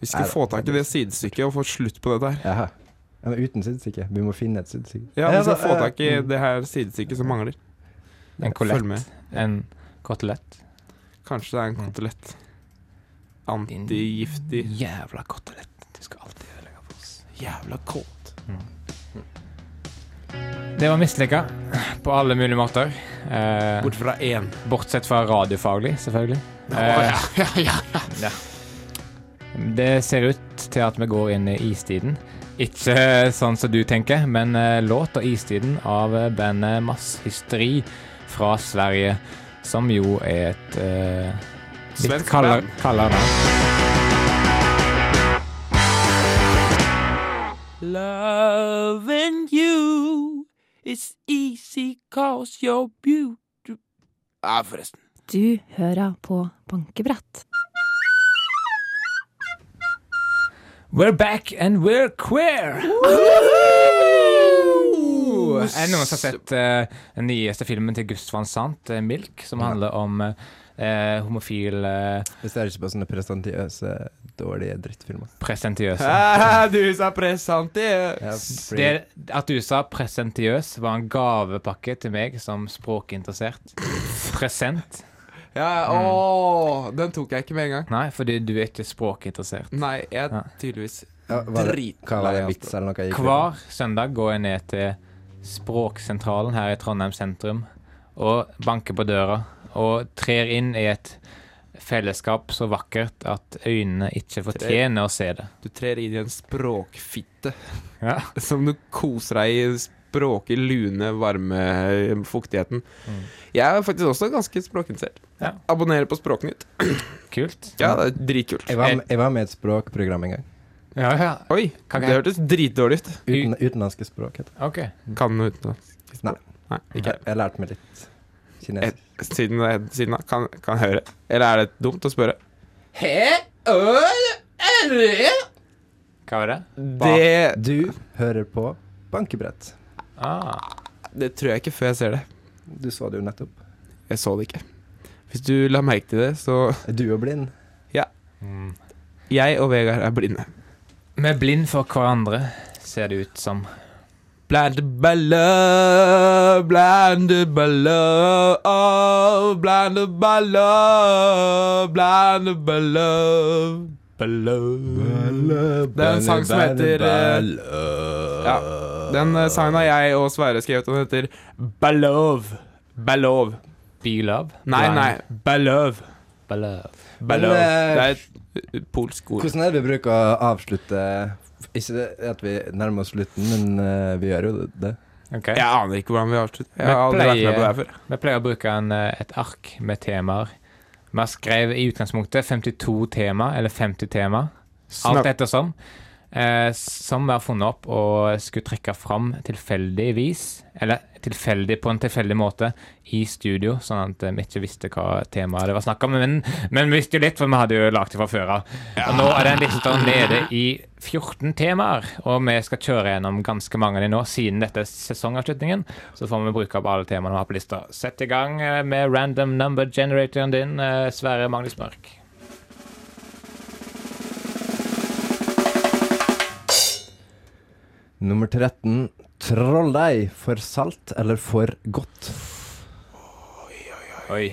Speaker 2: Vi skal få tak i det sidestykket og få slutt på dette her.
Speaker 4: Ja. Ja, men uten sidestykke. Vi må finne et sidestykke.
Speaker 2: Ja, vi skal
Speaker 4: da,
Speaker 2: få
Speaker 4: eh,
Speaker 2: tak i
Speaker 4: mm.
Speaker 2: det her sidestykket som mangler.
Speaker 1: En
Speaker 2: Følg med.
Speaker 1: kolett. En kotelett.
Speaker 2: Kanskje det er en kotelett. Antigiftig.
Speaker 1: Jævla kotelett. Du skal alltid ødelegge for oss.
Speaker 2: Jævla kåt.
Speaker 1: Mm. Det var mislykka på alle mulige måter. Eh,
Speaker 2: Bort fra én.
Speaker 1: Bortsett fra radiofaglig, selvfølgelig. Eh, ja. Det ser ut til at vi går inn i istiden. Ikke eh, sånn som du tenker, men eh, låt og istiden av eh, bandet Masshysteri fra Sverige, som jo er et eh, litt
Speaker 2: Svensk
Speaker 1: kaldere-
Speaker 2: band.
Speaker 1: kaldere navn.
Speaker 12: Loving you is easy cause you're beautiful.
Speaker 2: Ja, forresten.
Speaker 3: Du hører på bankebrett.
Speaker 1: We're back and we're queer! Er det noen som har sett eh, den nyeste filmen til Gus van Sant, eh, 'Milk', som handler om eh, eh, homofil eh,
Speaker 4: Vi ser ikke på sånne presentiøse, dårlige drittfilmer.
Speaker 1: presentiøse?
Speaker 2: Ah, du sa presantiøs!
Speaker 1: Det at du sa presentiøs, var en gavepakke til meg som språkinteressert. Present.
Speaker 2: Ja, åh, den tok jeg ikke med en gang.
Speaker 1: Nei, fordi du er ikke språkinteressert.
Speaker 2: Nei, jeg er tydeligvis
Speaker 4: Ja, var det-
Speaker 2: drit.
Speaker 4: hva var det, vits eller noe? jeg gikk
Speaker 1: Hver søndag går jeg ned til Språksentralen her i Trondheim sentrum og banker på døra og trer inn i et fellesskap så vakkert at øynene ikke fortjener å se det.
Speaker 2: Du trer inn i en språkfitte
Speaker 1: Ja.
Speaker 2: som du koser deg i. Språket lune, varme, eh, fuktigheten. Jeg er faktisk også ganske språkinteressert.
Speaker 1: Ja.
Speaker 2: Abonnerer på Språknytt.
Speaker 1: Kult.
Speaker 2: Ja, det er dritkult.
Speaker 4: Jeg var, jeg var med i et språkprogram en gang.
Speaker 1: Ja, ja.
Speaker 2: Oi,
Speaker 1: Kan
Speaker 2: det
Speaker 1: jeg-
Speaker 2: hørtes dritdårlig ut.
Speaker 4: Uten, utenlandske språk, heter det.
Speaker 1: OK.
Speaker 2: Kan du utenlandsk?
Speaker 4: Nei.
Speaker 2: Nei, ikke Eh,
Speaker 4: Jeg, jeg lærte meg litt kinesisk.
Speaker 2: jeg. Siden, siden da, kan, kan jeg høre. Eller er det dumt å spørre?
Speaker 1: Hva var det?
Speaker 2: Det
Speaker 4: Du hører på bankebrett.
Speaker 1: Ah.
Speaker 2: Det tror jeg ikke før jeg ser det.
Speaker 4: Du så det jo nettopp.
Speaker 2: Jeg så det ikke. Hvis du la merke til det, så
Speaker 4: Er du jo blind?
Speaker 2: Mm. Ja. Jeg og Vegard er blinde.
Speaker 1: Vi er blind for hverandre, ser det ut som.
Speaker 2: Blinded by love, blinded by love, oh, blinded by love, blinded by love, by love. Det er en sang som heter eh, Ja, den eh, sangen har jeg og Sverre skrevet, og den heter By love, by love.
Speaker 1: By love?
Speaker 2: Nei, nei, by love.
Speaker 1: By love.
Speaker 2: By love. Det er et eh, polsk ord.
Speaker 4: Hvordan er det vi bruker å avslutte Ikke det at vi nærmer oss slutten, men eh, vi gjør jo det.
Speaker 1: Ok.
Speaker 2: Jeg aner ikke hvordan vi avslutter. Jeg har aldri vært med på det her før.
Speaker 1: Vi pleier å bruke en, eh, et ark med temaer. Vi skrev i utgangspunktet 52 tema, eller 50 tema,
Speaker 2: Snap.
Speaker 1: alt ettersom, eh, som vi har funnet opp og skulle trekke fram tilfeldigvis, eller tilfeldig på en tilfeldig måte, i studio, sånn at eh, vi ikke visste hva temaet det var snakk om, men, men vi visste jo litt, for vi hadde jo lagt det fra før av. Og nå er den lista nede i 14 temaer, og vi skal kjøre gjennom ganske mange av de nå, siden dette er sesongavslutningen. Så får vi bruke opp alle temaene vi har på lista. Sett i gang eh, med random number generatoren din, eh, Sverre Magnus Mørk.
Speaker 4: Nummer 13. Troll deg for salt eller for godt.
Speaker 1: Oi.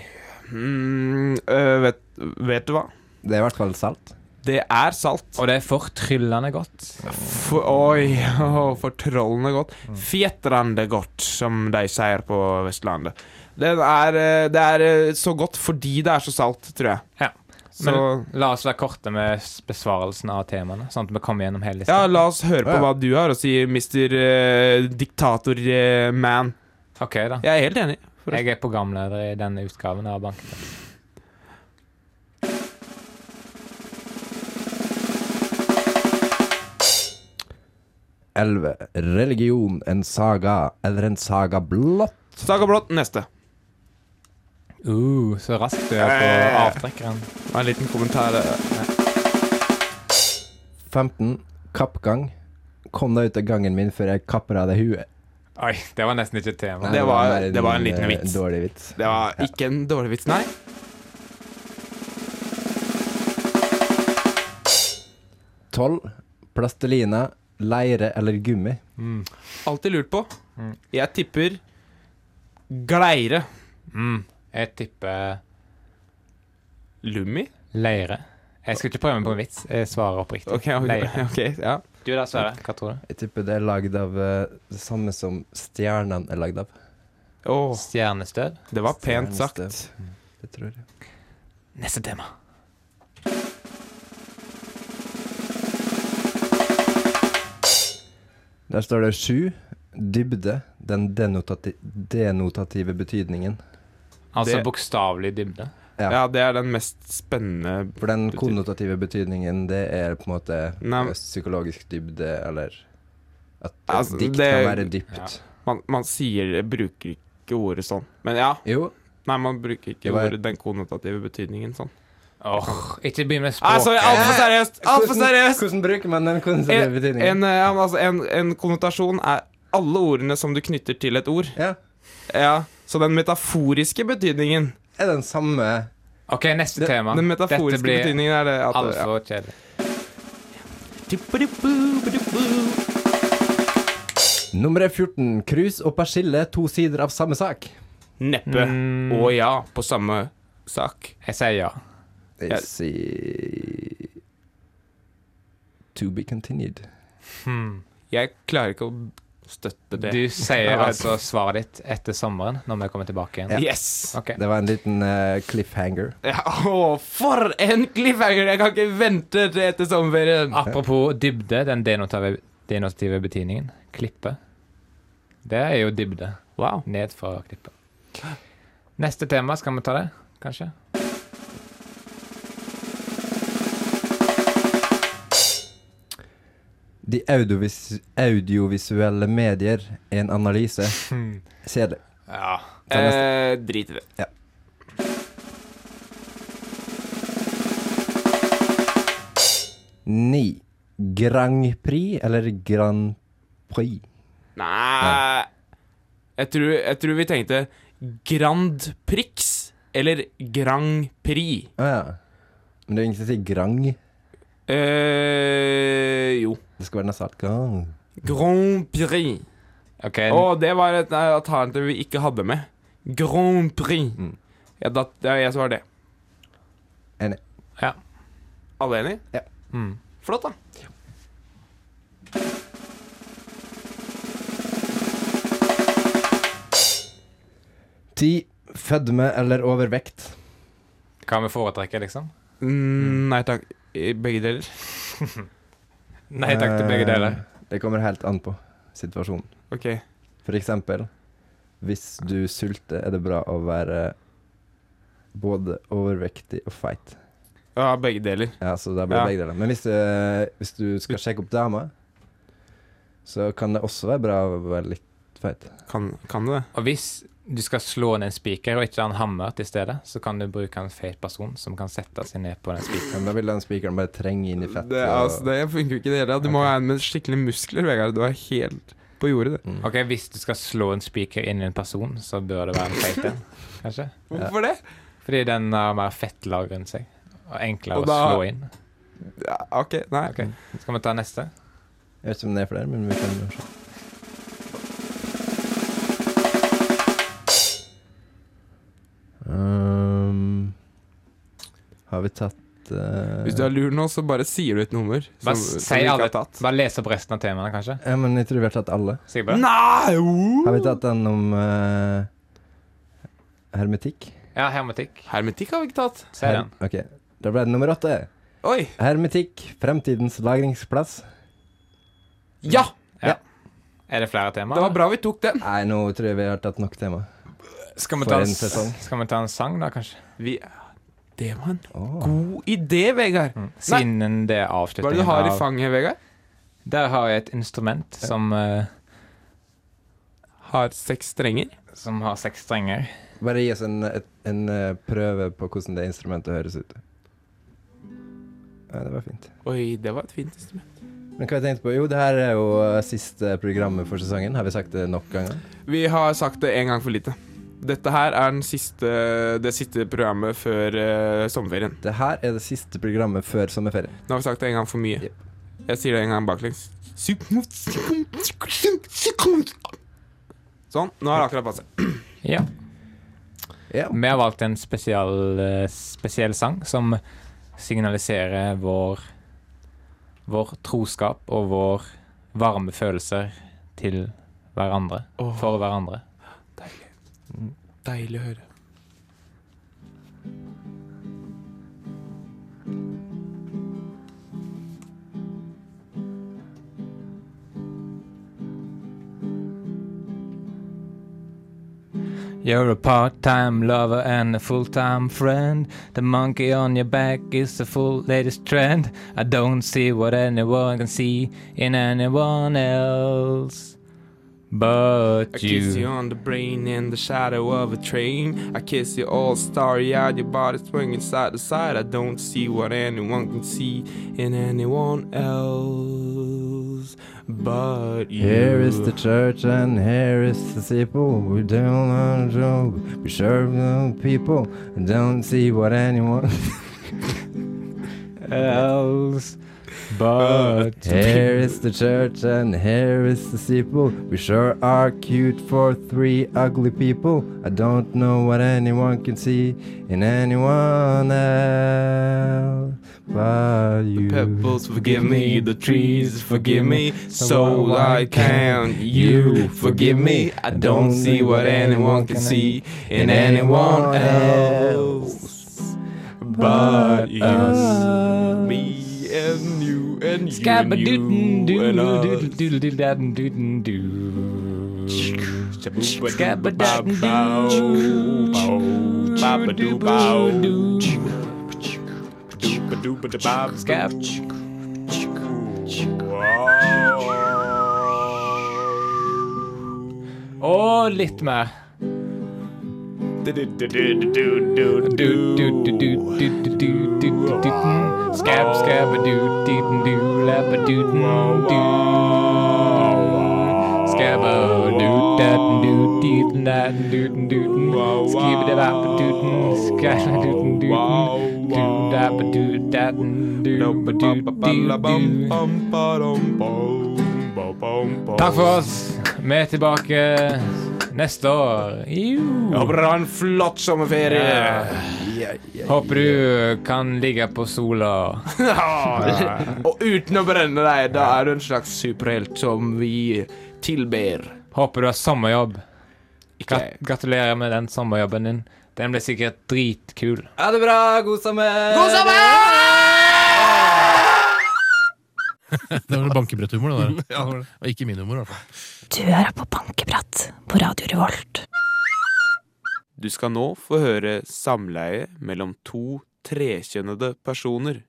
Speaker 2: Mm, øh, vet, vet du hva?
Speaker 4: Det er i hvert fall salt.
Speaker 2: Det er salt.
Speaker 1: Og det er fortryllende godt.
Speaker 2: For, oi, oh, fortrollende godt. Fjetrande godt, som de sier på Vestlandet. Den er, eh, det er eh, så godt fordi det er så salt, tror jeg.
Speaker 1: Ja.
Speaker 2: Så
Speaker 1: Men la oss være korte med s- besvarelsen av temaene, sånn at vi kommer gjennom hele lista.
Speaker 2: ja, la oss høre på
Speaker 1: Ja,
Speaker 2: hva
Speaker 1: ja.
Speaker 2: du har å si, mister eh, diktator-man.
Speaker 1: Ok, da.
Speaker 2: Jeg er helt enig. forresten.
Speaker 1: Jeg er programleder i denne utgaven av Bankefest.
Speaker 4: Elleve. Religion, en saga eller en saga blått.
Speaker 2: Saga blått, neste.
Speaker 1: Uh, så raskt du er på
Speaker 2: Eh.
Speaker 1: avtrekkeren.
Speaker 2: Det var En liten kommentar. eh.
Speaker 4: 15. Kappgang. Kom deg ut av gangen min før jeg kapper av deg huet.
Speaker 1: Oi, det var nesten ikke et tema.
Speaker 4: Nei,
Speaker 2: Det var,
Speaker 4: bare
Speaker 2: det var en liten
Speaker 4: eh,
Speaker 2: vits.
Speaker 4: Dårlig vits.
Speaker 2: Det var ikke en dårlig vits, nei.
Speaker 4: 12. Plastelina, leire eller gummi.
Speaker 2: Alltid lurt på.
Speaker 1: Mm.
Speaker 2: Jeg tipper gleire.
Speaker 1: Mm. Jeg tipper
Speaker 2: Lummi?
Speaker 1: leire. Jeg skal ikke prøve meg på en vits. Jeg svarer oppriktig.
Speaker 2: Ok, ok,
Speaker 1: Leire.
Speaker 2: ok, ja.
Speaker 1: Du da, Sverre. Hva tror du?
Speaker 4: Jeg tipper det er lagd av eh, det samme som stjernene er lagd av.
Speaker 2: Åh,
Speaker 1: Stjernestøv?
Speaker 2: det var pent sagt.
Speaker 4: Stjernestøv. Det tror jeg.
Speaker 1: Neste tema.
Speaker 4: Der står det sju. Dybde. Den denotati denotative betydningen.
Speaker 1: Altså
Speaker 2: Det-
Speaker 1: bokstavelig dybde.
Speaker 4: Ja.
Speaker 2: Ja, det er den mest spennende
Speaker 4: For den konnotative betydningen, det er på en måte
Speaker 2: Nei, men-
Speaker 4: psykologisk dybde, eller At et
Speaker 2: Altså,
Speaker 4: dikt
Speaker 2: det-
Speaker 4: kan være dypt.
Speaker 2: Man, man sier bruker ikke ordet sånn. Men ja.
Speaker 4: Jo.
Speaker 2: Nei, man bruker ikke
Speaker 4: Det var-
Speaker 2: ordet den konnotative betydningen sånn.
Speaker 1: Åh, ikke begynn med
Speaker 2: Ah,
Speaker 1: språket.
Speaker 2: sorry, altfor seriøst! Altfor
Speaker 4: Hvordan-
Speaker 2: seriøst!
Speaker 4: Hvordan bruker man den konnotative
Speaker 2: En,
Speaker 4: betydningen?
Speaker 2: en, eh, ja, men altså, en, en konnotasjon er alle ordene som du knytter til et ord.
Speaker 4: Ja.
Speaker 2: Ja, Så den metaforiske betydningen
Speaker 4: Er den samme
Speaker 1: OK, neste tema.
Speaker 2: Den metaforiske
Speaker 1: Dette blir
Speaker 2: betydningen er det at ja.
Speaker 1: altfor kjedelig.
Speaker 4: Nummer 14. Krus og persille, to sider av samme sak.
Speaker 2: Neppe.
Speaker 1: Mm.
Speaker 2: Og ja, på samme sak.
Speaker 1: Jeg sier ja.
Speaker 4: Jeg
Speaker 2: Ja.
Speaker 4: sier To be continued.
Speaker 1: Hmm.
Speaker 2: Jeg klarer ikke å støtte det.
Speaker 1: Du
Speaker 2: Jeg
Speaker 1: sier
Speaker 2: vet.
Speaker 1: altså svaret ditt etter sommeren, når vi kommer tilbake igjen.
Speaker 4: Ja.
Speaker 2: Yes!
Speaker 1: Ok.
Speaker 4: Det var en liten eh, cliffhanger.
Speaker 2: Ja, å, for en cliffhanger! Jeg kan ikke vente til etter sommerferien.
Speaker 1: Apropos dybde, den denotative, denotative betydningen. Klippe. Det er jo dybde.
Speaker 2: Wow.
Speaker 1: Ned fra klippet. Neste tema, skal vi ta det, kanskje?
Speaker 4: De audiovis audiovisuelle medier, en analyse. Kjedelig.
Speaker 1: Ja.
Speaker 4: Ta neste.
Speaker 2: Eh, drit i det.
Speaker 4: Ja. Ni. Grand Prix eller Grand Prix?
Speaker 2: Nei jeg tror, jeg tror vi tenkte Grand Prix eller Grand Prix.
Speaker 4: Å ja. Men det er ingen som sier Grand.
Speaker 2: Eh, jo.
Speaker 4: Det skal være nasartgang.
Speaker 2: Grand Prix.
Speaker 1: Okay.
Speaker 2: Og det var et nei, alternativ vi ikke hadde med. Grand Prix. Ja, da, det er jeg som har det.
Speaker 4: Enig.
Speaker 1: Ja.
Speaker 2: Alle enig?
Speaker 4: Ja.
Speaker 1: Mm.
Speaker 2: Flott, da.
Speaker 4: Ti. Fødme eller overvekt.
Speaker 1: Hva vi foretrekker, liksom?
Speaker 2: Mm, nei takk. I Begge deler.
Speaker 1: Nei takk til begge deler.
Speaker 4: Eh, Det kommer helt an på situasjonen.
Speaker 2: Ok.
Speaker 4: For eksempel, hvis du sulter, er det bra å være både overvektig og feit.
Speaker 2: Ja, begge deler.
Speaker 4: Ja, så da blir det
Speaker 2: Ja.
Speaker 4: begge deler. Men hvis, eh, hvis du skal sjekke opp dama, så kan det også være bra å være litt feit.
Speaker 2: Kan, du det?
Speaker 1: Og hvis du skal slå ned en spiker og ikke ha en hammer til stedet, så kan du bruke en feit person som kan sette seg ned på den spikeren.
Speaker 4: Men da vil den spikeren bare trenge inn i fettet.
Speaker 2: Det, altså, det funker jo ikke i det hele tatt. Du må ha en med skikkelig muskler, Vegard. Du er helt på jordet, du.
Speaker 1: Ok, Hvis du skal slå en spiker inn i en person, så bør det være en feit en, kanskje?
Speaker 2: Hvorfor det?
Speaker 1: Fordi den har mer fettlag rundt seg, og enklere
Speaker 2: Og da-
Speaker 1: å slå inn.
Speaker 2: Ja, OK, nei.
Speaker 1: Skal vi ta neste?
Speaker 4: Jeg vet ikke om det er flere, men vi kan se. Um, har vi tatt eh,
Speaker 2: Hvis du er lur nå, så bare sier du et nummer.
Speaker 1: Bare,
Speaker 2: som-
Speaker 1: s-
Speaker 2: som
Speaker 1: si
Speaker 2: vi ikke
Speaker 1: alle,
Speaker 2: har tatt.
Speaker 1: bare les opp resten av temaene, kanskje?
Speaker 4: Ja, men jeg tror vi har tatt alle.
Speaker 1: Sikker på det?
Speaker 2: Nei! oh!
Speaker 4: Har vi tatt den om eh, hermetikk?
Speaker 1: Ja, hermetikk.
Speaker 2: Hermetikk har vi ikke tatt.
Speaker 1: Si den.
Speaker 4: Ok, Da ble det nummer åtte.
Speaker 2: Oi!
Speaker 4: Hermetikk, fremtidens lagringsplass.
Speaker 2: Ja!
Speaker 1: Ja. Er det flere temaer?
Speaker 2: Det var bra vi tok den.
Speaker 4: Nei, nå tror jeg vi har tatt nok tema.
Speaker 1: Skal vi,
Speaker 4: For
Speaker 1: ta en,
Speaker 4: en
Speaker 1: s-
Speaker 4: sesong.
Speaker 1: skal vi ta en sang, da, kanskje?
Speaker 2: Vi, det var en
Speaker 4: Åh.
Speaker 2: god idé, Vegard. Nei,
Speaker 1: Siden det er
Speaker 2: hva er det
Speaker 1: avslutningen
Speaker 2: du har i
Speaker 1: av-
Speaker 2: fanget, Mm. Vegard?
Speaker 1: Der har jeg et instrument som eh,
Speaker 2: Har seks strenger?
Speaker 1: Som har seks strenger.
Speaker 4: Bare gi oss en, et, en eh, prøve på hvordan det instrumentet høres ut. Ja, det var fint.
Speaker 2: Oi, det var et fint instrument.
Speaker 4: Men hva jeg tenkte på? Jo, det her er jo eh, siste programmet for sesongen. Har vi sagt det nok ganger?
Speaker 2: Vi har sagt det en gang for lite. Dette her er den siste, det siste programmet før eh, sommerferien.
Speaker 4: Det her er det siste programmet før sommerferien.
Speaker 2: Nå har vi sagt det en gang for mye. Jeg sier det en gang baklengs. Sånn. Nå har det akkurat passet.
Speaker 1: Ja.
Speaker 4: Ja.
Speaker 1: Vi har valgt en spesial, eh, spesiell sang som signaliserer vår Vår troskap og vår varme følelser til hverandre. For hverandre.
Speaker 2: Deilig å høre.
Speaker 1: You're a part time lover and a full time friend. The monkey on your back is the full latest trend. I don't see what anyone can see in anyone else.
Speaker 2: I
Speaker 1: But
Speaker 2: kiss you
Speaker 1: you.
Speaker 2: on the brain in the shadow of a train. I kiss you all starry eyed, your body swinging side to side. I don't see what anyone can see in anyone else but you.
Speaker 4: Here is the church and here is the steeple. We do our job. We serve the people. And don't see what anyone
Speaker 1: else. But
Speaker 4: Here is the church and here is the steeple. We sure are cute for three ugly people. I don't know what anyone can see in anyone else but you.
Speaker 2: Pebbles, forgive me, the trees, forgive me, so I can. You, forgive me, I don't see what anyone can see in anyone else but us. Me and you and you and you and us.
Speaker 1: Og litt mer. Skab, skab, do, ditten, do, labba, duten, do. Skabba, do, datten, do, Duten duten duten duten Skibidabapduten Skaladutten duten Duten Takk for oss. Vi er tilbake neste år.
Speaker 2: Jeg håper dere har en flott sommerferie.
Speaker 1: Ja. Håper du kan ligge på sola.
Speaker 2: Og uten å brenne deg, da er du en slags superhelt som vi tilber.
Speaker 1: Håper du har sommerjobb. Grat gratulerer med den sommerjobben din. Den ble sikkert dritkul.
Speaker 13: Ha det bra. God sommer.
Speaker 12: God
Speaker 5: Det var bankebretthumor, det der. Ja, det var det. Og ikke min humor, i hvert fall.
Speaker 3: Du hører på Bankeprat på Radio Revolt.
Speaker 2: Du skal nå få høre samleie mellom to trekjønnede personer.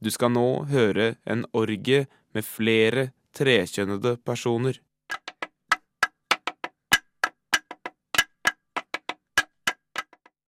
Speaker 2: Du skal nå høre en orgie med flere trekjønnede personer.